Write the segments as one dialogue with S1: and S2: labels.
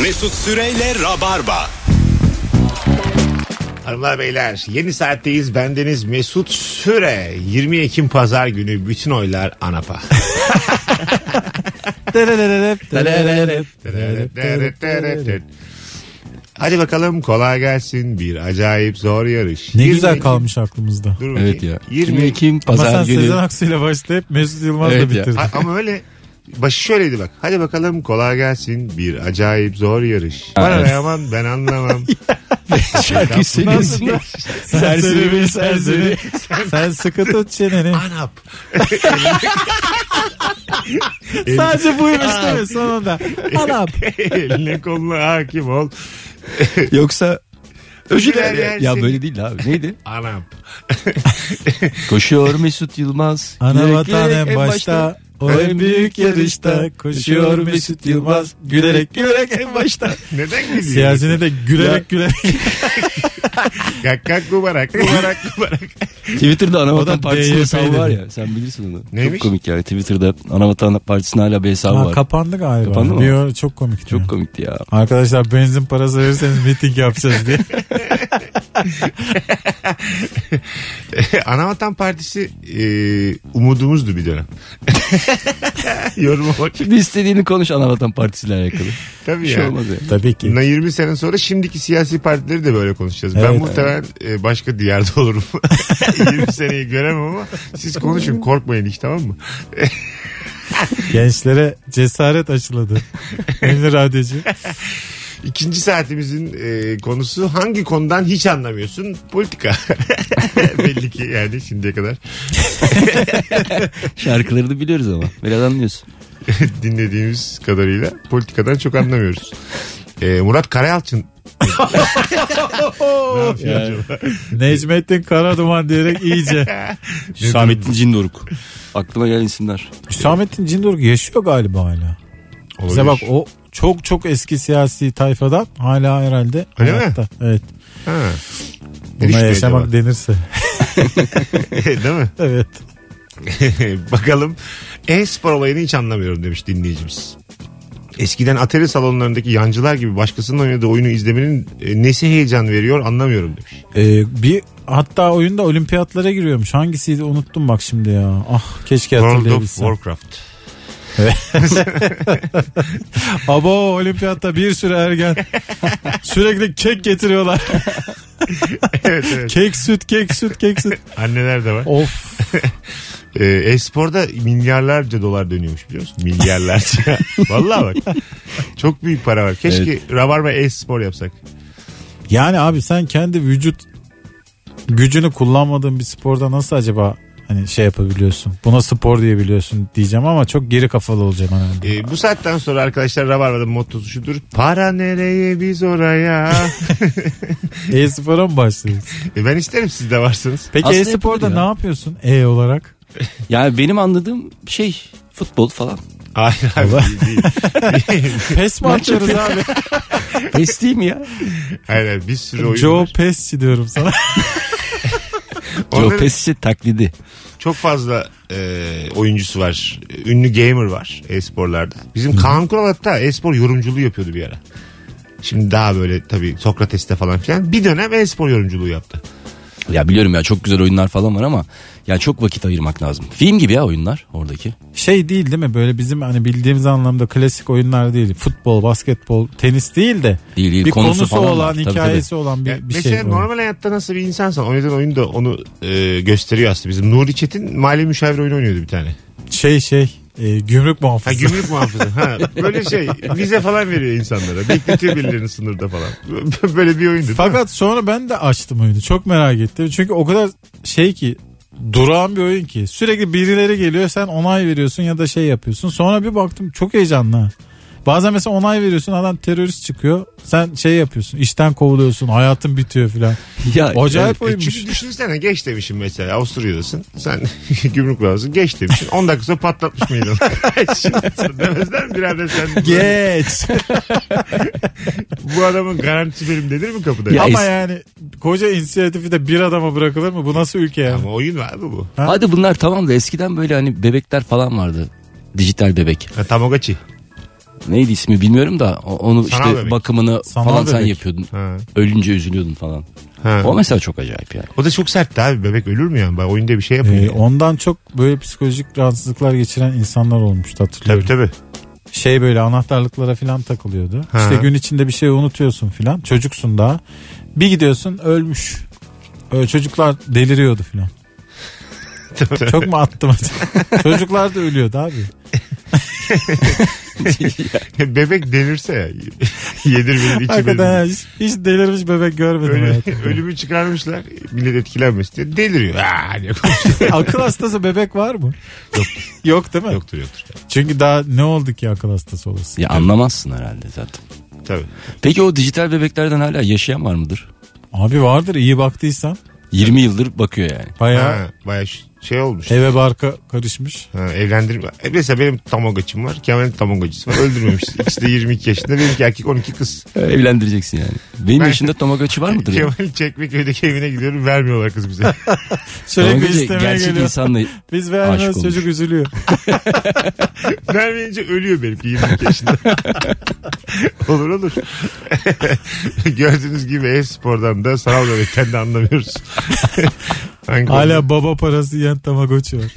S1: Mesut Süreyle Rabarba.
S2: Hanımlar beyler yeni saatteyiz. Bendeniz Mesut Süre. 20 Ekim Pazar günü bütün oylar ANAP'a. Hadi bakalım kolay gelsin. Bir acayip zor yarış.
S3: Ne
S2: 20
S3: güzel
S2: Ekim-
S3: kalmış aklımızda.
S2: Dur bakayım.
S4: Evet ya.
S2: 20
S4: 22 Ekim
S3: Ama sen
S4: pazar günü.
S3: Sezen Aksu ile başlayıp Mesut Yılmaz'la
S4: Evet ya.
S3: bitirdin.
S2: A- Ama öyle başı şöyleydi bak. Hadi bakalım kolay gelsin. Bir acayip zor yarış. Bana ne yaman ben anlamam.
S4: Şarkı
S3: Nasıl?
S4: söylüyorsun.
S3: Serseri bir serseri. Sen sıkı tut çeneni.
S2: Anap.
S3: Sadece buymuş değil mi sonunda? Anam.
S2: Eline koluna hakim ol.
S4: Yoksa
S2: Öcüler
S4: öcüler ya.
S2: gelsin.
S4: ya böyle değil abi. Neydi?
S2: Anap.
S4: Koşuyor Mesut Yılmaz.
S3: Ana
S4: Yürek
S3: vatan
S4: yürek
S3: en başta. O en büyük yarışta koşuyor Mesut Yılmaz gülerek gülerek en başta.
S2: Neden gülüyorsun?
S3: Siyasine de gülerek gülerek.
S2: Gak gak kubarak kubarak kubarak.
S4: Twitter'da Anavatan
S3: O da
S4: Partisi'nin
S3: DYP
S4: hesabı var
S3: dedi.
S4: ya. Sen bilirsin onu.
S2: Neymiş?
S4: Çok komik yani. Twitter'da Anavatan Partisi'nin hala bir hesabı
S3: Ha,
S4: var.
S3: kapandı galiba.
S4: Kapandı mı?
S3: Bir ara çok komik.
S4: Çok komikti ya.
S3: Arkadaşlar benzin parası verirseniz miting yapacağız diye.
S2: Anavatan Partisi e, umudumuzdu bir dönem. Yoruma bak.
S4: Şimdi istediğini konuş Anavatan Partisi'yle alakalı. Bir
S2: Tabii
S4: şey
S2: ya.
S4: olmaz ya.
S3: Tabii ki.
S2: Bundan 20 sene sonra şimdiki siyasi partileri de böyle konuşacağız. ben
S3: Evet.
S2: muhtemelen e, başka diyarda olurum. 20 seneyi göremem ama siz konuşun korkmayın hiç tamam mı?
S3: Gençlere cesaret aşıladı. Ünlü radyocu.
S2: İkinci saatimizin e, konusu hangi konudan hiç anlamıyorsun? Politika. Belli ki yani şimdiye kadar
S4: Şarkıları da biliyoruz ama. Biraz anlıyorsun.
S2: dinlediğimiz kadarıyla politikadan çok anlamıyoruz. E, Murat Karayalçın. ne yapıyor
S4: Yani.
S2: acaba?
S3: Necmettin Karaduman diyerek iyice.
S4: Hüsamettin Cindoruk. Aklıma gelen isimler.
S3: Hüsamettin Cindoruk yaşıyor galiba hala. Bize bak
S2: Olabilir.
S3: o çok çok eski siyasi tayfadan hala herhalde
S2: Öyle mi?
S3: hayatta. Evet.
S2: Ha. Ne
S3: Buna
S2: düşünüyor
S3: yaşamak
S2: acaba?
S3: denirse.
S2: Değil mi?
S3: Evet.
S2: Bakalım. E-spor olayını hiç anlamıyorum demiş dinleyicimiz. Eskiden atari salonlarındaki yancılar gibi başkasının oynadığı oyunu izlemenin e, nesi heyecan veriyor anlamıyorum demiş.
S3: Ee, bir hatta oyunda olimpiyatlara giriyormuş. Hangisiydi unuttum bak şimdi ya. Ah keşke
S2: World of
S3: hatırlayabilsem.
S2: Warcraft.
S3: Abo olimpiyatta bir sürü ergen. Sürekli kek getiriyorlar.
S2: evet evet.
S3: kek süt kek süt kek süt.
S2: Anneler de var.
S3: Of.
S2: E, E-sporda milyarlarca dolar dönüyormuş biliyor musun? Milyarlarca. Vallahi bak. Çok büyük para var. Keşke Rabarba E-spor yapsak.
S3: Yani abi sen kendi vücut gücünü kullanmadığın bir sporda nasıl acaba hani şey yapabiliyorsun? Buna spor diyebiliyorsun diyeceğim ama çok geri kafalı olacağım herhalde.
S2: E, bu saatten sonra arkadaşlar Rabarba'nın mottosu şudur. Para nereye biz oraya.
S3: E-spora mı başlıyorsun?
S2: E, ben isterim siz de varsınız.
S3: Peki
S4: Aslında
S3: e-sporda
S4: yapılır
S3: ne
S4: ya.
S3: yapıyorsun E olarak?
S4: Yani benim anladığım şey futbol falan.
S2: Hayır abi değil, değil.
S3: Pes mi atıyoruz abi?
S4: Pes değil mi ya?
S2: Hayır, hayır, bir sürü oyun
S3: Joe
S2: var.
S3: Pesci diyorum sana.
S2: Onların
S4: Yok pes ise taklidi.
S2: çok fazla e, oyuncusu var. Ünlü gamer var e-sporlarda. Bizim Kaan Kural hatta e-spor yorumculuğu yapıyordu bir ara. Şimdi daha böyle tabii Sokrates'te falan filan. Bir dönem e-spor yorumculuğu yaptı.
S4: Ya biliyorum ya çok güzel oyunlar falan var ama ya çok vakit ayırmak lazım. Film gibi ya oyunlar oradaki.
S3: Şey değil değil mi? Böyle bizim hani bildiğimiz anlamda klasik oyunlar değil. Futbol, basketbol, tenis değil de
S4: Değil değil
S3: bir
S4: konusu,
S3: konusu,
S4: falan
S3: olan,
S4: var. Tabii,
S3: hikayesi olan bir,
S2: Yani
S3: bir
S2: mesela
S3: şey. var.
S2: normal hayatta nasıl bir insansan oynadığın oyun da onu e, gösteriyor aslında. Bizim Nuri Çetin mali müşavir oyunu oynuyordu bir tane.
S3: Şey şey e, gümrük
S2: Ha
S3: muhafızı.
S2: gümrük muhafızı. Ha, böyle şey vize falan veriyor insanlara. Bekletiyor birilerini sınırda falan. böyle bir oyundu. E, Fakat...
S3: Fakat sonra ben de açtım oyunu. Çok merak ettim. Çünkü o kadar şey ki durağan bir oyun ki. Sürekli birileri geliyor sen onay veriyorsun ya da şey yapıyorsun. Sonra bir baktım çok heyecanlı. ha. Bazen mesela onay veriyorsun adam terörist çıkıyor. Sen şey yapıyorsun işten kovuluyorsun hayatın bitiyor filan.
S4: tabii. Ya,
S3: Acayip
S2: E
S3: oyunmuş.
S2: çünkü düşünsene geç demişim mesela Avusturya'dasın. Sen gümrük lazım geç demişsin. 10 dakika sonra patlatmış mıydın? Şimdi sen demezler mi birader sen?
S3: Geç.
S2: Bu adamın garantisi benim denir mi kapıda?
S4: Ya-
S3: Ama
S4: es-
S3: yani koca inisiyatifi de bir adama bırakılır mı? Bu nasıl ülke yani?
S2: Ama oyun var mı bu?
S4: Ya, Hadi bunlar tamam da eskiden böyle hani bebekler falan vardı. Dijital bebek.
S2: Ha, Tamagotchi.
S4: Neydi ismi bilmiyorum da o- onu
S2: Sanal
S4: işte
S2: bebek.
S4: bakımını
S3: Sanal
S4: falan sen
S3: bebek.
S4: yapıyordun.
S2: Ha.
S4: Ölünce üzülüyordun falan.
S2: Ha.
S4: O mesela çok acayip yani.
S2: O da çok sertti abi. Bebek ölür mü yani? Bak Oyunda bir şey yapıyor.
S3: Ee, ondan çok böyle psikolojik rahatsızlıklar geçiren insanlar olmuştu hatırlıyorum.
S2: Tabii tabii.
S3: Şey böyle anahtarlıklara falan takılıyordu.
S2: Ha.
S3: İşte gün içinde bir şey unutuyorsun falan. Çocuksun daha. Bir gidiyorsun ölmüş. Öyle çocuklar deliriyordu falan. Çok mu attım acaba? Çocuklar da ölüyordu abi.
S2: Bebek delirse yedir benim içimi.
S3: Hakikaten şey hiç, hiç delirmiş bebek görmedim
S2: Ölü,
S3: hayatımda.
S2: ölümü çıkarmışlar. Millet etkilenmesin diye deliriyor. Aa, diye konuşuyor.
S3: akıl hastası bebek var mı?
S2: Yok.
S3: Yok değil mi?
S2: yoktur yoktur.
S3: Çünkü daha ne oldu ki akıl hastası olası?
S4: Ya anlamazsın herhalde zaten.
S2: Tabii.
S4: Peki o dijital bebeklerden hala yaşayan var mıdır?
S3: Abi vardır iyi baktıysan.
S4: 20 yıldır bakıyor yani.
S3: Bayağı
S2: Ha, bayağı ş- şey olmuş.
S3: eve barka karışmış.
S2: Ha, evlendirme. E, mesela benim tamagotchim var. Kemal'in tamagotchisi var. Öldürmemiş. İkisi de 22 yaşında. Benimki erkek 12 kız.
S4: Ee, Evlendireceksin yani. Benim
S2: Ben-
S4: yaşımda Tamagotchi var mıdır? ya?
S2: Kemal'in Çekmeköy'deki evine gidiyorum. Vermiyorlar kız bize.
S3: Sürekli
S4: Tamagotchi
S3: istemeye
S4: Şey gerçek
S3: geliyor.
S4: insanla
S3: Biz
S4: Aşık
S3: vermiyoruz
S4: olmuş.
S3: çocuk üzülüyor.
S2: Vermeyince ölüyor benimki 22 yaşında. olur olur. Gördüğünüz gibi e-spordan da sanal bebekten de anlamıyoruz. Hangi oldu?
S3: Hala baba parası yiyen Tamagotchi var.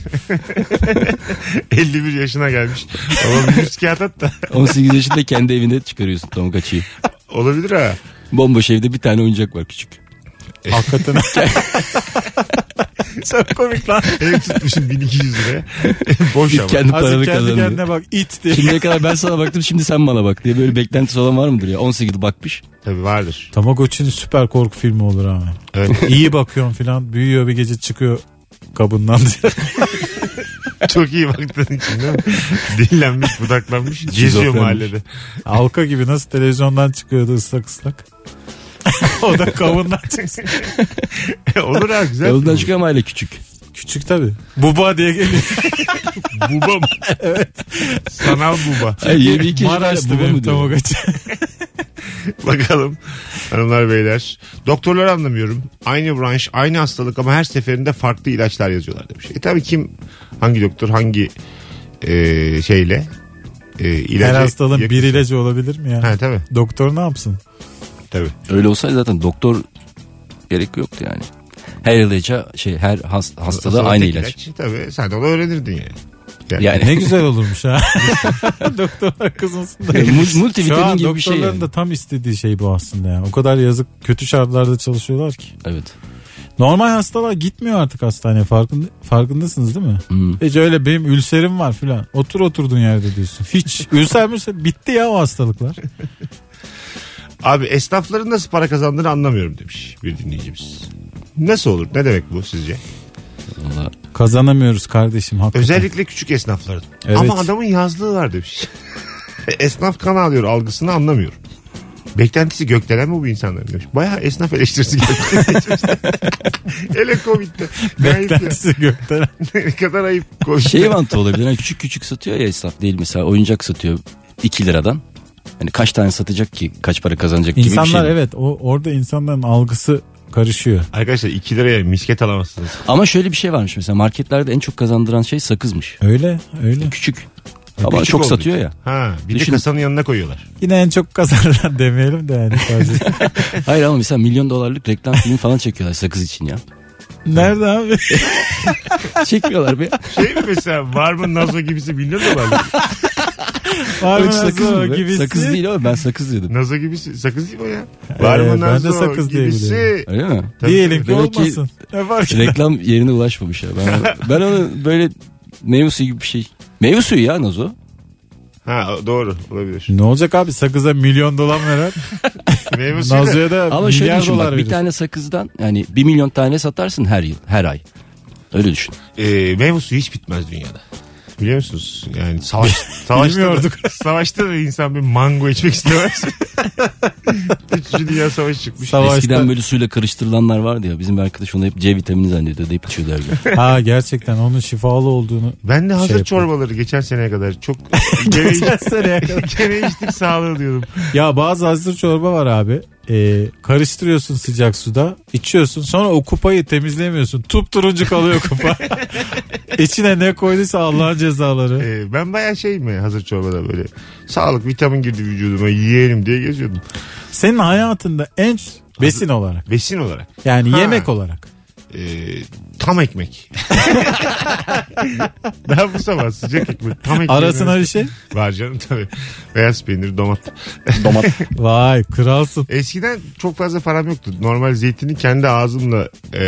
S2: 51 yaşına gelmiş. Ama bir psikiyat at da
S4: 18 yaşında kendi evinde çıkarıyorsun Tamagotchi'yi.
S2: olabilir ha.
S4: Bomboş evde bir tane oyuncak var küçük.
S3: Hakikaten
S2: Çok komik lan. Ev tutmuşum 1200 liraya. Boş ama.
S4: Kendi
S3: azıcık kendi
S4: paranı kazanıyor.
S3: kendine bak it diye.
S4: Şimdiye kadar ben sana baktım şimdi sen bana bak diye böyle beklentisi olan var mıdır ya? 18 yıl bakmış.
S2: Tabii vardır.
S3: Tamagotchi'nin süper korku filmi olur abi.
S2: Evet.
S3: İyi bakıyorsun filan büyüyor bir gece çıkıyor kabından diye.
S2: Çok iyi baktığın için değil mi? Dillenmiş, budaklanmış. Geziyor
S4: Şizofrenmiş.
S2: mahallede.
S3: Halka gibi nasıl televizyondan çıkıyordu ıslak ıslak. o da kabından çıksın.
S2: Olur ha güzel.
S4: Yoldan çıkan aile küçük.
S3: Küçük tabi. Buba diye geliyor.
S2: Buba mı? evet. Sanal buba.
S4: Ay, 22 yaşında
S3: Maraşlı
S4: baba
S3: benim
S4: mı diyor?
S3: Tamagotchi.
S2: Bakalım hanımlar beyler. Doktorları anlamıyorum. Aynı branş, aynı hastalık ama her seferinde farklı ilaçlar yazıyorlar demiş. E tabii kim hangi doktor hangi e, şeyle e, ilacı...
S3: Her hastalığın
S2: yak-
S3: bir
S4: şey.
S3: ilacı olabilir mi ya?
S2: Ha tabii
S3: Doktor ne yapsın?
S2: tabii.
S4: Öyle olsaydı zaten doktor gerek yoktu yani. Her ilaca şey her has, hastalığa aynı
S2: Tek
S4: ilaç.
S2: Tabii sen de onu öğrenirdin yani. Yani,
S4: Yani
S3: Ne güzel olurmuş ha. Doktorlar kızılsın da.
S4: Mul-
S3: Şu
S4: multivitamin
S3: an
S4: gibi bir şey.
S3: doktorların
S4: yani.
S3: da tam istediği şey bu aslında ya. O kadar yazık kötü şartlarda çalışıyorlar ki.
S4: Evet.
S3: Normal hastalar gitmiyor artık hastaneye farkında, farkındasınız değil mi?
S4: Hmm.
S3: Hiç öyle benim ülserim var filan. Otur oturduğun yerde diyorsun. Hiç ülser mülser bitti ya o hastalıklar.
S2: Abi esnafların nasıl para kazandığını anlamıyorum demiş bir dinleyicimiz. Nasıl olur? Ne demek bu sizce?
S4: Vallahi
S3: Kazanamıyoruz kardeşim hakikaten.
S2: Özellikle küçük esnafların.
S3: Evet.
S2: Ama adamın yazlığı var demiş. Esnaf kan alıyor algısını anlamıyorum. Beklentisi gökdelen mi bu insanların demiş. Bayağı esnaf eleştirisi geldi. Hele Covid'de. Ne ayıp ya.
S3: Beklentisi gökten.
S2: Ne kadar ayıp. Covid'de.
S4: Şey mantığı olabilir. Hani küçük küçük satıyor ya esnaf değil mesela oyuncak satıyor 2 liradan. Hani kaç tane satacak ki kaç para kazanacak gibi bir şey.
S3: İnsanlar evet o orada insanların algısı karışıyor.
S2: Arkadaşlar 2 liraya misket alamazsınız.
S4: Ama şöyle bir şey varmış mesela marketlerde en çok kazandıran şey sakızmış.
S3: Öyle öyle.
S4: Küçük. Ama
S2: Küçük
S4: çok
S2: olduğu
S4: satıyor
S2: için.
S4: ya.
S2: Ha, bir
S4: Düşün-
S2: de kasanın yanına koyuyorlar.
S3: Yine en çok kazanılan demeyelim de yani sadece.
S4: Hayır ama mesela milyon dolarlık reklam filmi falan çekiyorlar sakız için ya.
S3: Nerede abi?
S4: Çekmiyorlar be.
S2: Şey mi mesela var mı Nazo gibisi bilmiyor mu var mı?
S3: Var
S4: Öyle
S3: mı
S4: sakız mı?
S3: sakız
S4: be?
S3: gibisi?
S4: Sakız değil ama ben sakız dedim.
S2: Nazo gibisi. Sakız değil mi o ya? Var mı
S3: Ee, ben de
S2: Nazo
S3: sakız diye
S2: gibisi?
S3: biliyorum.
S4: Öyle mi?
S2: Tabii
S3: Diyelim ki
S4: tabii. Belki-
S3: olmasın. Ne fark eder?
S4: Reklam yerine ulaşmamış ya. Ben, ben onu böyle meyve suyu gibi bir şey. Meyve suyu ya Nazo.
S2: Ha doğru olabilir.
S3: Ne olacak abi sakıza milyon dolar veren
S2: Meyve suyu da-
S3: Nazlı'ya da
S4: Ama şöyle
S3: milyar
S4: düşün
S3: dolar
S4: bak,
S3: verir.
S4: bir tane sakızdan yani bir milyon tane satarsın her yıl, her ay. Öyle düşün.
S2: e, meyve suyu hiç bitmez dünyada. Biliyor musunuz? Yani savaş, savaşta,
S3: Bilmiyorduk.
S2: da, savaşta da insan bir mango içmek istemez. Üçüncü Dünya Savaşı çıkmış.
S3: Savaşta-
S4: Eskiden böyle suyla karıştırılanlar vardı ya. Bizim bir arkadaş onu hep C vitamini zannediyordu. Deyip içiyordu her gün.
S3: Ha gerçekten onun şifalı olduğunu.
S2: Ben de hazır
S3: yapıyor.
S2: çorbaları geçen seneye kadar çok gene,
S3: Seneye kadar.
S2: gene içtik sağlığı diyordum.
S3: ya bazı hazır çorba var abi. e, karıştırıyorsun sıcak suda içiyorsun sonra o kupayı temizleyemiyorsun. Tup turuncu kalıyor kupa. İçine ne koyduysa Allah'ın cezaları.
S2: Ee, ben bayağı şey mi hazır çorbada böyle sağlık vitamin girdi vücuduma yiyelim diye geziyordum.
S3: Senin hayatında en besin olarak
S2: Besin olarak.
S3: yani
S2: Ha.
S3: yemek olarak.
S2: Ee, tam ekmek. Daha bu sabah sıcak ekmek. Tam ekmek.
S3: Arasına bir şey.
S2: Var canım tabii. Beyaz peynir, domat.
S4: Domat.
S3: Vay kralsın.
S2: Eskiden çok fazla param yoktu. Normal zeytini kendi ağzımla e,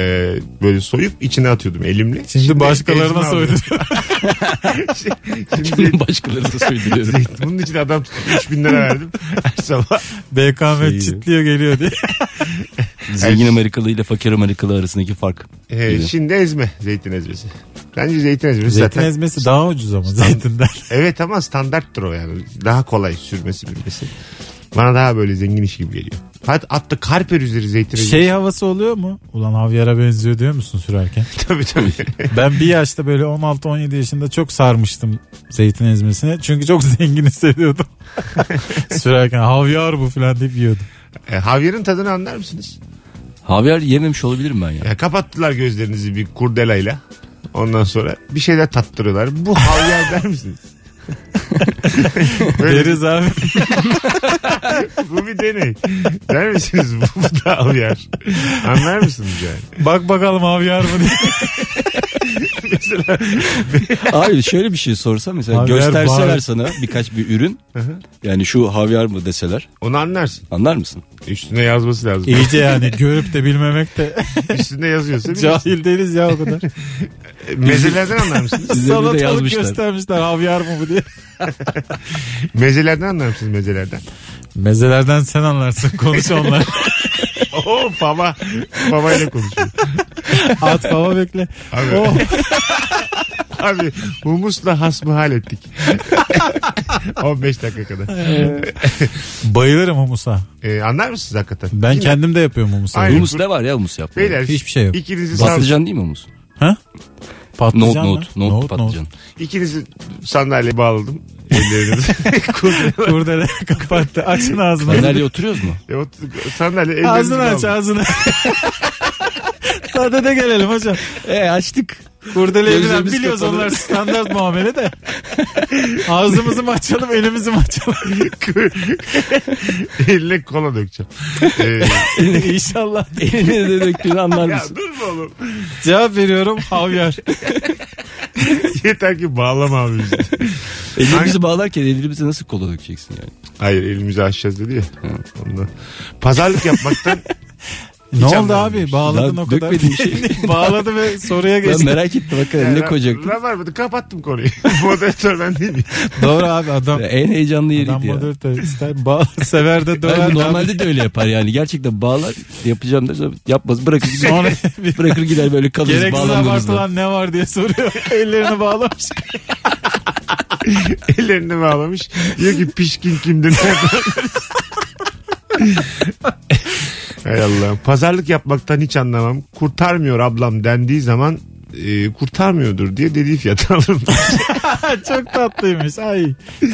S2: böyle soyup içine atıyordum elimle.
S3: Şimdi başkalarına
S2: elimle
S3: soydun.
S2: alıyorum. Şimdi
S4: Şimdi başkaları da söylüyorum.
S2: zeytin. Bunun için adam 3000 lira verdim her sabah.
S3: BKM
S4: Şey-
S3: çitliyor geliyor diye.
S4: Zengin Amerikalı ile fakir Amerikalı arasındaki fark.
S2: Ee,
S4: gibi.
S2: şimdi ezme zeytin ezmesi. Bence zeytin ezmesi
S3: Zeytin
S2: zaten.
S3: ezmesi daha ucuz ama zeytinden.
S2: Evet ama standarttır o yani. Daha kolay sürmesi bilmesi. Bana daha böyle zengin iş gibi geliyor. Hat, hatta karper üzeri zeytin ezmesi.
S3: Şey havası oluyor mu? Ulan havyara benziyor diyor musun sürerken?
S2: Tabii tabii.
S3: Ben bir yaşta böyle 16-17 yaşında çok sarmıştım zeytin ezmesine. Çünkü çok zengin hissediyordum. Sürerken havyar bu falan deyip yiyordum.
S2: E, Havyar'ın tadını anlar mısınız?
S4: Havyar yememiş olabilirim ben ya.
S2: Ya kapattılar gözlerinizi bir kurdelayla. Ondan sonra bir şeyler tattırıyorlar. Bu havyar der misiniz? Böyle-
S3: Deriz abi.
S2: bu bir deney. Der misiniz bu, bu da havyar? Anlar mısınız yani?
S3: Bak bakalım havyar mı diye.
S4: Abi şöyle bir şey sorsa mesela
S3: Havyar
S4: gösterseler
S3: bağır-
S4: sana birkaç bir ürün. yani şu havyar mı deseler
S2: Onu anlarsın.
S4: anlar mısın?
S2: Üstüne yazması lazım.
S3: İyice yani görüp de bilmemek de
S2: Üstünde yazıyorsa bilirsin.
S3: cahil değiliz ya o kadar.
S2: E, Mezelerden anlar mısınız?
S4: Üzerine de
S3: Salatalık
S4: yazmışlar.
S3: göstermişler havyar mı bu diye.
S2: Mezelerden anlar mısınız mezelerden?
S3: Mezelerden sen anlarsın konuş onlar.
S2: Oo baba. Babayla konuşuyor.
S3: At baba bekle.
S2: Abi.
S3: Oh.
S2: Abi humusla hasbihal ettik. 15 dakika kadar.
S3: Bayılırım humusa.
S2: E, anlar mısınız hakikaten?
S3: Ben
S2: Yine-
S3: kendim de yapıyorum humusa.
S2: Aynen.
S4: Humus ne var ya humus yap.
S2: Beyler,
S3: Hiçbir şey yok.
S2: İkinizi sağ
S4: Patlıcan değil mi humus?
S3: Ha? Patlıcan
S4: Nohut
S3: mı?
S4: nohut. Nohut patlıcan.
S2: İkinizi sandalyeye bağladım. Ellerinizi. Kurdele-
S3: Kurdele kapattı. Açın ağzını.
S4: Fenerle oturuyoruz mu?
S2: E, ot- sandalye ellerinizi
S3: ağzını aç
S2: bağladım.
S3: ağzını. Sade de gelelim hocam.
S4: E açtık.
S3: Kurdeleyi bilen
S4: Gözlerimiz
S3: biliyoruz
S4: kapalı.
S3: onlar standart muamele de. Ağzımızı mı açalım elimizi mi açalım?
S2: Eline kola dökeceğim. E,
S3: İnşallah.
S4: Eline de döktüğünü anlar
S2: ya
S4: mısın?
S2: dur be oğlum.
S3: Cevap veriyorum havyar.
S2: Yeter ki bağlama abi bizi.
S4: Ellerimizi bağlarken ellerimizi nasıl kola dökeceksin yani?
S2: Hayır elimizi açacağız dedi ya. Ondan. Pazarlık yapmaktan
S3: ne oldu
S2: anlamamış.
S3: abi bağladın
S4: Daha
S3: o kadar.
S4: dökmediğim şey.
S3: Bağladı ve soruya
S4: Ben
S3: geçti.
S4: merak ettim hakikaten ne koyacaktın?
S2: Ne var mıydı? Kapattım konuyu. Moderatör ben değil miyim?
S3: Doğru abi adam.
S4: Ya En
S3: Adam
S4: heyecanlı yeriydi ya.
S3: moderatör ister. Bağ, sever de döver.
S4: Hayır,
S3: de.
S4: bu normalde de öyle yapar yani. Gerçekten bağlar yapacağım derse yapmaz bırakır gider.
S3: Sonra
S4: bırakır gider böyle kalırız
S3: Gereksiz
S4: bağlandığımızda.
S3: abartılan ne var diye soruyor. Ellerini bağlamış.
S2: Ellerini bağlamış. Diyor ki pişkin kimdir? Hay Allah'ım. Pazarlık yapmaktan hiç anlamam. Kurtarmıyor ablam dendiği zaman e, kurtarmıyordur diye dediği fiyatı alırım.
S3: Çok tatlıymış. Ay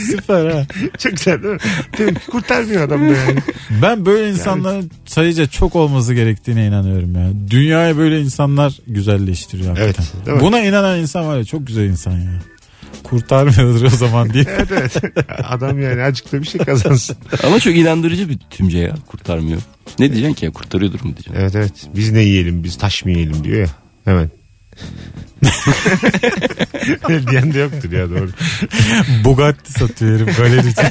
S3: süper ha.
S2: Çok güzel değil mi? Değil mi? Kurtarmıyor adam da yani.
S3: Ben böyle insanların sayıca çok olması gerektiğine inanıyorum ya. Dünyaya böyle insanlar güzelleştiriyor hakikaten.
S2: Evet, değil mi?
S3: Buna inanan insan var ya çok güzel insan ya. Kurtarmıyordur o zaman diye.
S2: Evet evet. Adam yani azıcık da bir şey kazansın.
S4: Ama çok inandırıcı bir tümce ya kurtarmıyor. Ne diyeceksin ki ya kurtarıyordur mu diyeceksin.
S2: Evet evet. Biz ne yiyelim biz taş mı yiyelim diyor ya. Hemen. Öyle Diyen de yoktur ya doğru.
S3: Bugatti satıyor herif galerici.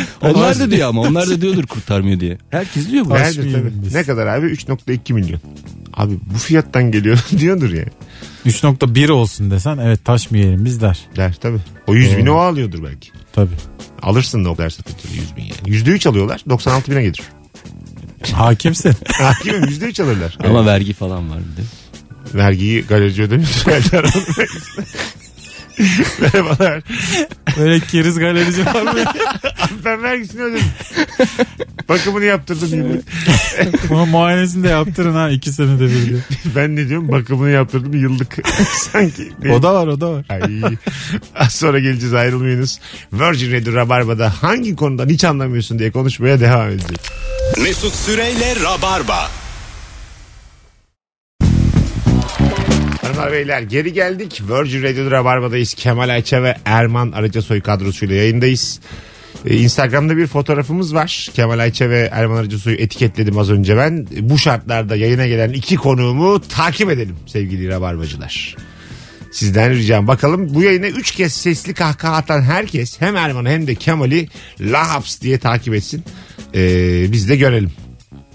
S4: Onlar da diyor ama onlar da diyordur kurtarmıyor diye. Herkes diyor bu.
S3: Taş
S2: Nerede
S3: mı
S2: tabii.
S3: yiyelim biz?
S2: Ne kadar abi? 3.2 milyon. Abi bu fiyattan geliyor diyordur yani.
S3: 3.1 olsun desen evet taş mı yiyelim biz der.
S2: Der tabii. O 100
S3: Doğru.
S2: bini o alıyordur belki.
S3: Tabii.
S2: Alırsın da o kadar satılır 100 bin yani. %3 alıyorlar 96 bine gelir.
S3: Hakimsin.
S2: Hakimim %3 alırlar.
S4: Ama vergi falan var bir de.
S2: Vergiyi galerici ödemiyor. Merhabalar.
S3: Böyle keriz galerici var mı?
S2: Ben vergisini ödedim. Bakımını yaptırdım yine.
S3: Bunun muayenesini de yaptırın ha iki senede bir. diye.
S2: Ben ne diyorum? Bakımını yaptırdım yıllık. Sanki.
S3: O da var o da var.
S2: Ay. Az sonra geleceğiz ayrılmayınız. Virgin Radio Rabarba'da hangi konudan hiç anlamıyorsun diye konuşmaya devam edeceğiz.
S1: Mesut Süreyle Rabarba.
S2: Hanımlar beyler geri geldik. Virgin Radio Rabarba'dayız. Kemal Ayça ve Erman Arıcasoy kadrosuyla yayındayız. Ee, Instagram'da bir fotoğrafımız var. Kemal Ayça ve Erman Arıcasoy'u etiketledim az önce ben. Bu şartlarda yayına gelen iki konuğumu takip edelim sevgili Rabarbacılar. Sizden ricam bakalım bu yayına 3 kez sesli kahkaha atan herkes hem Erman'ı hem de Kemal'i Lahaps diye takip etsin. Ee, biz de görelim.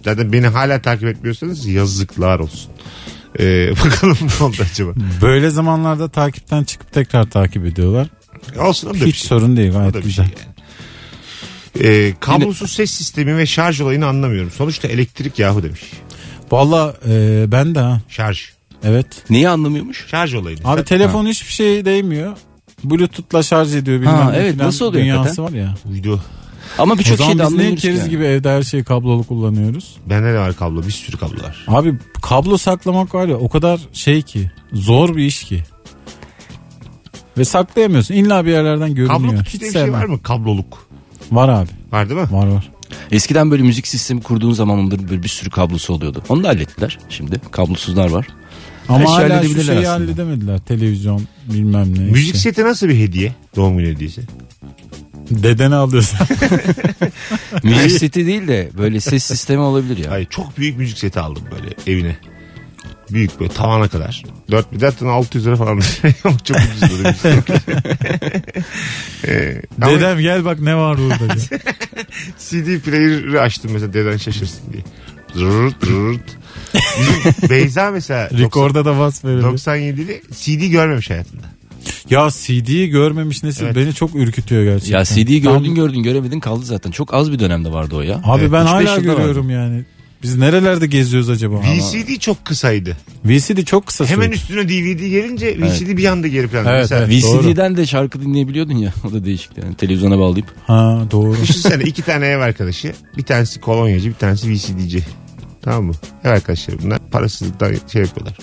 S2: Zaten beni hala takip etmiyorsanız yazıklar olsun. Ee, bakalım ne oldu acaba?
S3: Böyle zamanlarda takipten çıkıp tekrar takip ediyorlar.
S2: Olsun o da bir
S3: Hiç
S2: şey.
S3: sorun değil
S2: O
S3: gayet
S2: da bir şey
S3: güzel.
S2: yani. Ee, kablosuz ses sistemi ve şarj olayını anlamıyorum. Sonuçta elektrik yahu demiş.
S3: Valla e, ben de ha.
S2: Şarj.
S3: Evet.
S4: Neyi anlamıyormuş?
S2: Şarj olayını.
S3: Abi telefon hiçbir şeye değmiyor. Bluetooth'la şarj ediyor bilmem
S4: Ha,
S3: ne
S4: evet,
S3: filan
S4: nasıl oluyor
S3: Dünyası
S4: hakikaten?
S3: var ya.
S2: Uydu.
S4: Ama
S3: o
S4: birçok
S3: zaman
S4: şeyde
S3: biz niye
S4: anlamıyormuş.
S3: keriz
S4: yani.
S3: gibi evde her şeyi kablolu kullanıyoruz?
S2: Bende de var kablo. Bir sürü kablo var.
S3: Abi kablo saklamak var ya o kadar şey ki zor bir iş ki. Ve saklayamıyorsun. İlla bir yerlerden görünüyor.
S2: Kablo
S3: Hiç
S2: kutusu diye bir şey
S3: sevmem.
S2: var mı? Kabloluk.
S3: Var abi.
S2: Var değil mi?
S3: Var var.
S4: Eskiden böyle müzik sistemi kurduğun zaman bunların böyle bir sürü kablosu oluyordu. Onu da hallettiler şimdi. Kablosuzlar var.
S3: Ama
S4: şeyi
S3: hala şu
S4: halledebilirler
S3: şeyi
S4: aslında.
S3: halledemediler. Televizyon bilmem ne.
S2: Müzik
S3: işte.
S2: seti nasıl bir hediye? Doğum günü hediyesi.
S3: Dedeni alıyorsun.
S4: Müzik seti değil de böyle ses sistemi olabilir ya.
S2: Ay çok büyük müzik seti aldım böyle evine. Büyük böyle tavana kadar. 4 bir zaten 600 lira falan. çok ucuz böyle müzik seti. Ee, ama
S3: Dedem gel bak ne var burada. diye.
S2: CD player'ı açtım mesela deden şaşırsın diye. Zırt zırt. Bizim Beyza mesela 90
S3: Rekorda da bas verildi.
S2: 97'li CD görmemiş hayatında.
S3: Ya CD'yi görmemiş nesil
S2: Evet.
S3: beni çok ürkütüyor gerçekten.
S4: Ya CD'yi
S3: Tam-
S4: gördün gördün göremedin kaldı zaten. Çok az bir dönemde vardı o ya.
S3: Abi
S2: Evet,
S3: ben
S4: üç beş
S3: hala
S4: yılda
S3: görüyorum yani. Biz nerelerde geziyoruz acaba?
S2: VCD çok kısaydı.
S3: VCD çok kısa
S2: Hemen
S3: sürdü.
S2: üstüne DVD gelince VCD bir anda geri planda.
S3: Evet,
S2: mesela
S3: evet.
S4: VCD'den de şarkı dinleyebiliyordun ya. O da değişikti yani. Televizyona bağlayıp.
S3: Ha doğru.
S2: düşünsene iki tane ev arkadaşı. Bir tanesi kolonyacı bir tanesi VCD'ci. Tamam mı? Ev arkadaşları bunlar parasızlıktan şey yapıyorlar.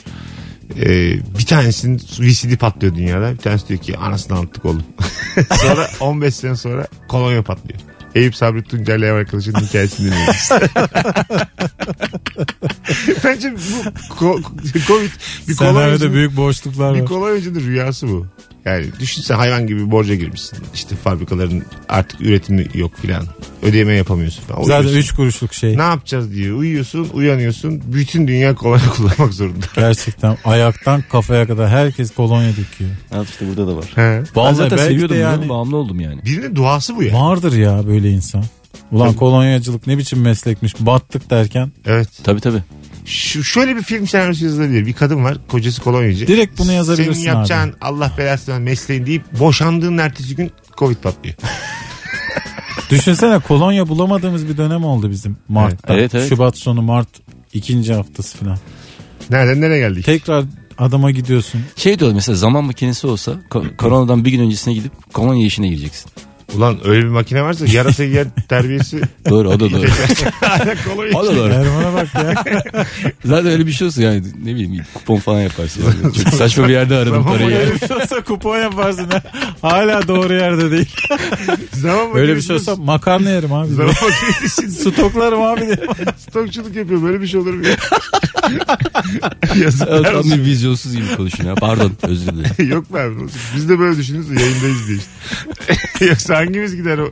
S2: Ee, bir tanesinin VCD patlıyor dünyada. Bir tanesi diyor ki anasını anlattık oğlum. sonra 15 sene sonra kolonya patlıyor. Eyüp Sabri Tuncer'le ev arkadaşının hikayesini dinliyoruz. Bence bu ko- Covid bir
S3: Senaryoda
S2: kolonyacının-
S3: büyük boşluklar
S2: bir
S3: var.
S2: kolonyacının rüyası bu. Yani düşünsen hayvan gibi borca girmişsin. İşte fabrikaların artık üretimi yok filan. Ödeme yapamıyorsun falan.
S3: Zaten
S2: Uyuyorsun.
S3: 3 kuruşluk şey.
S2: Ne yapacağız diye uyuyorsun, uyanıyorsun. Bütün dünya kolonya kullanmak zorunda.
S3: Gerçekten ayaktan kafaya kadar herkes kolonya döküyor.
S4: Al işte burada da var.
S2: He.
S4: Ben
S3: Vallahi
S4: zaten
S3: belki de
S4: seviyordum.
S3: yani-
S4: Yani... Bağımlı oldum yani.
S2: Birinin duası bu ya.
S3: Vardır ya böyle insan. Ulan kolonyacılık ne biçim meslekmiş battık derken
S2: Evet.
S4: Tabii tabii.
S2: Şu, şöyle bir film senaryosu yazılabilir. Bir kadın var, kocası kolonyacı.
S3: Direkt bunu yazabilirsin
S2: Senin yapacağın Allah belasını versin mesleğin deyip boşandığın ertesi gün Covid patlıyor.
S3: düşünsene kolonya bulamadığımız bir dönem oldu bizim Mart'ta.
S4: Evet, evet.
S3: Şubat sonu Mart ikinci haftası falan.
S2: Nereden nereye geldik?
S3: Tekrar adama gidiyorsun.
S4: Şey diyorlar mesela zaman makinesi olsa ko- koronadan bir gün öncesine gidip kolonya işine gireceksin.
S2: Ulan öyle bir makine varsa yarasa yiyen terbiyesi.
S4: Doğru o da doğru.
S2: kolonya.
S4: o da doğru.
S3: Erman'a bak ya.
S4: Zaten öyle bir şey olsa yani ne bileyim kupon falan yaparsın. Çok saçma bir yerde aradım
S2: Zaman
S4: parayı.
S3: Öyle bir şey olsa kupon yaparsın. ha. Hala doğru yerde değil.
S2: Zaman
S3: Öyle bir şey
S2: makinesi-
S3: olsa makarna yerim abi.
S2: Zaman makinesinde
S3: Stoklarım abi diye.
S2: Stokçuluk yapıyor. Böyle bir şey olur mu? ya? Yazıklar
S4: Tam
S2: olsun.
S4: bir şey vizyonsuz gibi konuşun ya. Pardon özür dilerim.
S2: Yok mu abi? Biz de böyle düşünürüz de yayındayız diye işte. Yoksa hangimiz gider o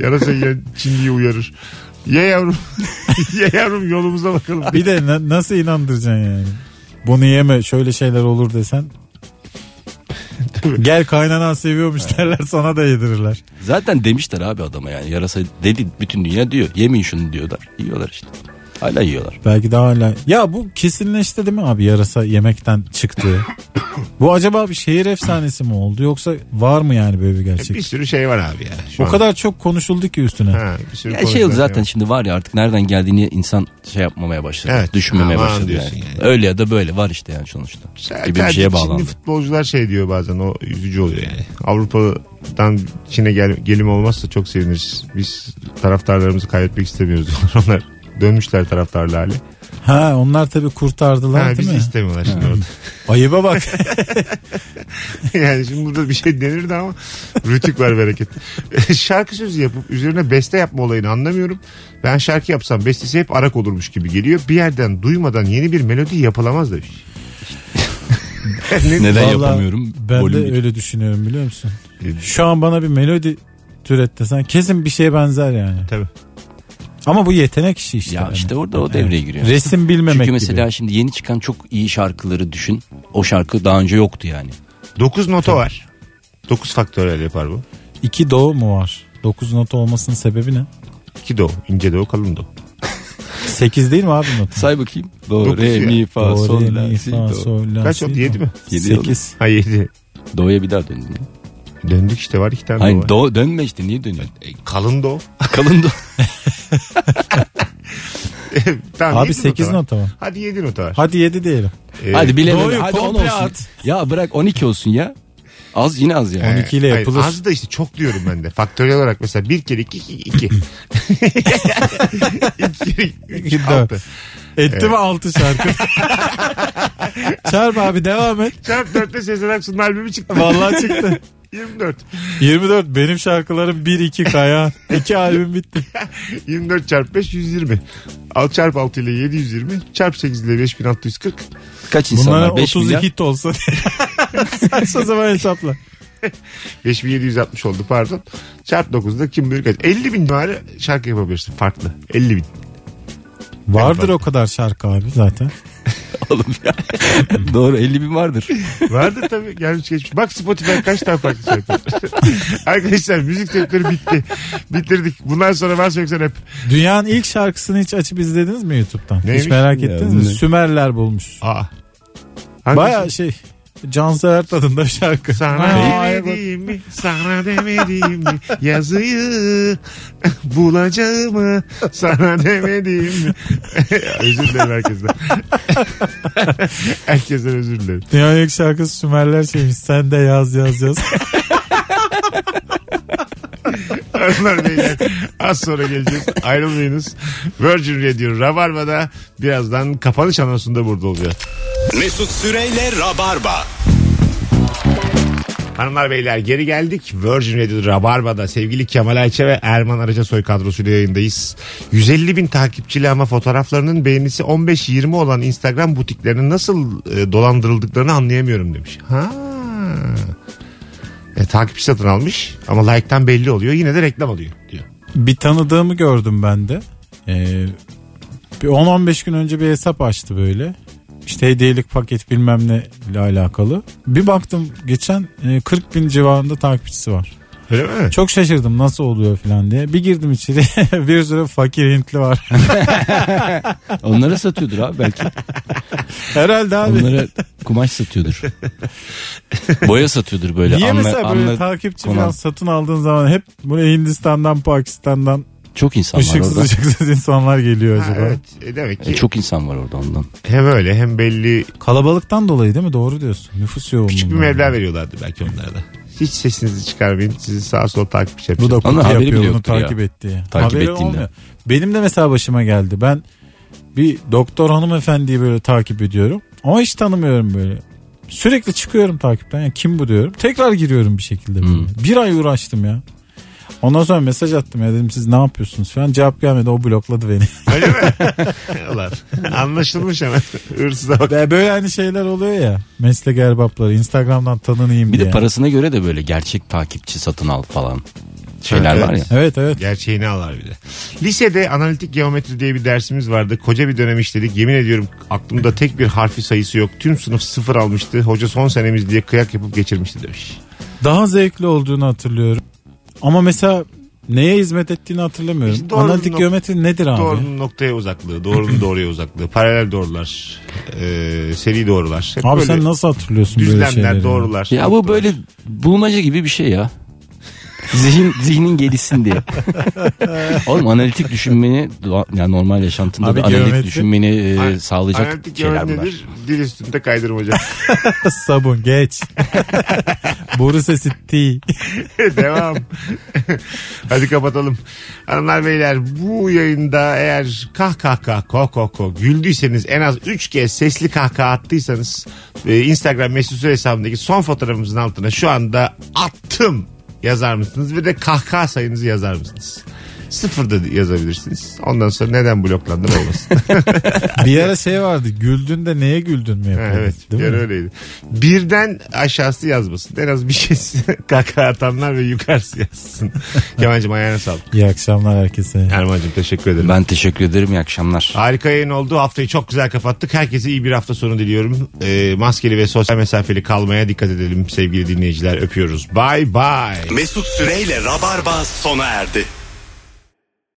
S2: yarasa yiyen Çinli'yi uyarır. Ye yavrum. Ye yavrum yolumuza bakalım. diye.
S3: Bir de na- nasıl inandıracaksın yani? Bunu yeme şöyle şeyler olur desen. Gel kaynanan seviyormuş derler sana da yedirirler.
S4: Zaten demişler abi adama yani yarasa dedi bütün dünya diyor. Yemin şunu diyorlar. Yiyorlar işte. Hala yiyorlar.
S3: Belki daha hala. Ya bu kesinleşti değil mi abi yarasa yemekten çıktı. bu acaba bir şehir efsanesi mi oldu yoksa var mı yani böyle bir gerçek?
S2: Bir sürü şey var abi ya. Şu
S3: o
S2: an.
S3: kadar çok konuşuldu ki üstüne.
S2: Ha, bir sürü
S4: Ya
S2: konular
S4: şey oldu
S2: var.
S4: zaten şimdi var ya artık nereden geldiğini insan şey yapmamaya başladı.
S2: Evet.
S4: Düşünmemeye
S2: Aman
S4: başladı
S2: diyorsun
S4: yani.
S2: yani.
S4: Öyle ya da böyle var işte yani sonuçta.
S2: Sen
S4: gibi bir
S2: tercih-
S4: şeye bağlandı.
S2: Şimdi futbolcular şey diyor bazen o üzücü oluyor yani. Avrupa'dan Çin'e gel, gelim olmazsa çok seviniriz. Biz taraftarlarımızı kaybetmek istemiyoruz diyorlar. Onlar dönmüşler taraftarlı hali.
S3: Ha onlar tabii kurtardılar
S2: Ha,
S3: değil
S2: bizi
S3: mi?
S2: istemiyorlar şimdi orada.
S3: Ayıba bak.
S2: yani şimdi burada bir şey denirdi ama rütük var bereket. Şarkı sözü yapıp üzerine beste yapma olayını anlamıyorum. Ben şarkı yapsam bestesi hep arak olurmuş gibi geliyor. Bir yerden duymadan yeni bir melodi yapılamaz demiş.
S4: Neden
S3: Vallahi
S4: yapamıyorum?
S3: Ben
S4: Volüm
S3: de
S4: bir-
S3: öyle düşünüyorum biliyor musun?
S2: E,
S3: Şu an bana bir melodi türet desen kesin bir şeye benzer yani.
S2: Tabii.
S3: Ama bu yetenek işi işte. Hani
S4: Ya
S3: yani.
S4: işte orada o devreye giriyor.
S3: Resim bilmemek
S4: Çünkü mesela
S3: gibi.
S4: şimdi yeni çıkan çok iyi şarkıları düşün. O şarkı daha önce yoktu yani.
S2: 9 nota var. 9 faktörel yapar bu.
S3: İki doğu mu var? 9 nota olmasının sebebi ne?
S2: 2 do, ince do, kalın do.
S3: 8 değil mi abi nota?
S4: Say bakayım. Do,
S2: Dokuz
S4: re,
S2: ya.
S4: mi, fa,
S3: Do,
S4: sol,
S3: re, mi,
S4: la, si,
S3: fa,
S4: do.
S3: sol, la,
S2: Kaç
S3: si,
S2: oldu,
S3: do.
S2: yedi mi?
S4: Yedi
S3: Sekiz.
S2: Ha 7.
S4: Do'ya bir daha döndün mü?
S2: Döndük işte var 2 tane do
S4: Hayır
S2: var.
S4: do dönme işte niye dönüyorsun?
S2: E, kalın do.
S4: Kalın do.
S2: tamam,
S3: Abi
S2: yedi
S3: 8
S2: var.
S3: nota var.
S2: Hadi 7 nota var.
S3: Hadi 7 diyelim.
S2: E,
S4: Hadi bilemedin.
S3: Do'yu
S4: Hadi on
S3: Ee, komple
S4: olsun.
S3: at.
S4: Ya bırak 12 olsun ya. Az yine az yani.
S3: 12 ile
S2: Hayır,
S3: yapılır.
S2: Az da işte çok diyorum ben de. Faktöriyel olarak mesela 1 kere 2 2. 2
S3: İki, dört. Etti mi 6 şarkı? Çarp abi devam et.
S2: Çarp 4'te Sezen Aksu'nun albümü çıktı.
S3: Vallahi çıktı.
S2: 24.
S3: 24 benim şarkılarım 1-2 kaya. 2 albüm bitti.
S2: 24 çarp 5 120. Al çarp 6 ile 720. Çarp 8 ile 5640.
S4: Kaç insan
S3: Bunlara
S4: var? 5
S3: 30
S4: milyar.
S3: hit olsa. Saçma zaman hesapla.
S2: 5760 oldu pardon. Çarp 9'da kim bilir kaç. 50 bin bari şarkı yapabilirsin farklı. 50 bin.
S3: Vardır
S2: Evet,
S3: o kadar şarkı abi zaten.
S4: Oğlum ya. Doğru 50 bin vardır.
S2: Vardı tabii gelmiş geçmiş. Bak Spotify kaç tane farklı şarkı. var. Arkadaşlar müzik sektörü bitti. Bitirdik. Bundan sonra varsa yoksa rap.
S3: Dünyanın ilk şarkısını hiç açıp izlediniz mi YouTube'dan?
S2: Neymiş?
S3: Hiç merak
S4: Ya,
S3: ettiniz
S4: bu
S3: mi?
S4: ne?
S3: Sümerler bulmuş.
S2: Aa.
S3: Baya şey Cansever tadında bir şarkı.
S2: Sana
S3: Ay, bak.
S2: demediğim mi, sana demediğim mi yazıyı bulacağımı sana demediğim mi? özür dilerim herkesten. herkesten özür dilerim.
S3: Dünyanın ilk şarkısı Sümerler şeymiş. Sen de yaz yaz yaz.
S2: Hanımlar beyler az sonra geleceğiz. Ayrılmayınız. Virgin Radio Rabarba'da birazdan kapanış anonsunda burada olacağız.
S1: Mesut Süreyle Rabarba.
S2: Hanımlar beyler geri geldik. Virgin Radio Rabarba'da sevgili Kemal Ayça ve Erman Araca soy kadrosuyla yayındayız. 150 bin takipçili ama fotoğraflarının beğenisi 15-20 olan Instagram butiklerinin nasıl e, dolandırıldıklarını anlayamıyorum demiş. Ha. E, takipçi satın almış ama like'tan belli oluyor yine de reklam alıyor diyor.
S3: bir tanıdığımı gördüm ben de. Ee, bir 10-15 gün önce bir hesap açtı böyle. İşte hediyelik paket bilmem ne ile alakalı. Bir baktım geçen e, 40 bin civarında takipçisi var.
S2: Öyle mi?
S3: Çok şaşırdım nasıl oluyor falan diye. Bir girdim içeri bir sürü fakir Hintli var.
S4: Onlara satıyordur abi belki.
S3: Herhalde abi.
S4: Onlara kumaş satıyordur. Boya satıyordur böyle.
S3: Niye
S4: Anla-
S3: mesela böyle
S4: anla-
S3: takipçi
S4: konan.
S3: falan satın aldığın zaman hep buraya Hindistan'dan, Pakistan'dan
S4: Çok insan var
S3: ışıksız
S4: orada.
S3: ışıksız insanlar geliyor
S2: Ha,
S3: acaba?
S2: evet. E, demek ki
S4: E, çok insan var orada ondan.
S2: hem öyle hem belli
S3: Kalabalıktan dolayı değil mi? Doğru diyorsun. Nüfus yoğunluğu.
S2: küçük bir meblağ veriyorlardı belki onlara da. Hiç sesinizi çıkarmayın sizi sağa sola takipçi
S3: Bu da
S2: yapacak.
S4: Onun
S3: kutu
S4: haberi
S3: yapıyor
S4: bile
S3: bunu
S4: yoktur ya.
S3: takip ettiği.
S4: Takip
S3: haberi
S4: ettiğinden.
S3: olmuyor. Benim de mesela başıma geldi. Ben bir doktor hanımefendiyi böyle takip ediyorum. Ama hiç tanımıyorum böyle. Sürekli çıkıyorum takipten. Ya kim bu diyorum. Tekrar giriyorum bir şekilde. böyle.
S4: Hmm.
S3: Bir ay uğraştım ya. Ondan sonra mesaj attım ya dedim siz ne yapıyorsunuz falan. Cevap gelmedi o blokladı beni.
S2: Öyle mi? Ulan, Anlaşılmış hemen. Hırsıza bak.
S3: Ve böyle hani şeyler oluyor ya. Meslek erbapları Instagram'dan tanınayım
S4: Bir
S3: diye.
S4: de parasına göre de böyle gerçek takipçi satın al falan şeyler
S2: Evet.
S4: var ya.
S3: Evet evet.
S2: Gerçeğini alar bir de. Lisede analitik geometri diye bir dersimiz vardı. Koca bir dönem işledik. Yemin ediyorum aklımda tek bir harfi sayısı yok. Tüm sınıf sıfır almıştı. Hoca son senemiz diye kıyak yapıp geçirmişti demiş.
S3: Daha zevkli olduğunu hatırlıyorum. Ama mesela neye hizmet ettiğini hatırlamıyorum.
S2: İşte doğru
S3: Analitik
S2: nok-
S3: geometri nedir abi?
S2: Doğrunun noktaya uzaklığı, doğrunun doğruya uzaklığı, paralel doğrular, e, seri doğrular. Hep
S3: Abi
S2: böyle
S3: sen nasıl hatırlıyorsun böyle şeyleri?
S2: düzlemler,
S3: ya?
S2: doğrular.
S4: Ya bu böyle bulmaca gibi bir şey ya. Zihin zihnin gelişsin diye. Oğlum analitik düşünmeni doğa- yani normal yaşantında
S3: Abi
S4: da analitik
S3: geometri-
S4: düşünmeni e,
S2: An-
S4: sağlayacak
S2: Analitik
S4: şeyler bunlar.
S2: yöndedir, dil üstünde kaydırmaca.
S3: Sabun geç. Boru sesi ti.
S2: Devam. Hadi kapatalım. Hanımlar beyler bu yayında eğer kah kah kah ko ko ko güldüyseniz en az 3 kez sesli kahkaha attıysanız e, Instagram mesut Süre hesabındaki son fotoğrafımızın altına şu anda attım yazar mısınız ve de kahkaha sayınızı yazar mısınız? Sıfır da yazabilirsiniz. Ondan sonra neden bloklandım olmasın.
S3: Bir ara şey vardı. Güldüğünde neye güldün mü yapıyordun?
S2: evet.
S3: Değil mi?
S2: yani öyleydi. Birden aşağısı yazmasın. En az bir şey kahkaha atanlar ve yukarısı yazsın. Kemal'cim ayağına sağlık.
S3: İyi akşamlar herkese.
S2: Erman'cığım teşekkür ederim.
S4: Ben teşekkür ederim. iyi akşamlar.
S2: Harika yayın oldu. Haftayı çok güzel kapattık. Herkese iyi bir hafta sonu diliyorum. Ee, maskeli ve sosyal mesafeli kalmaya dikkat edelim sevgili dinleyiciler. Öpüyoruz. Bye bye.
S1: Mesut Süreyle Rabarba sona erdi.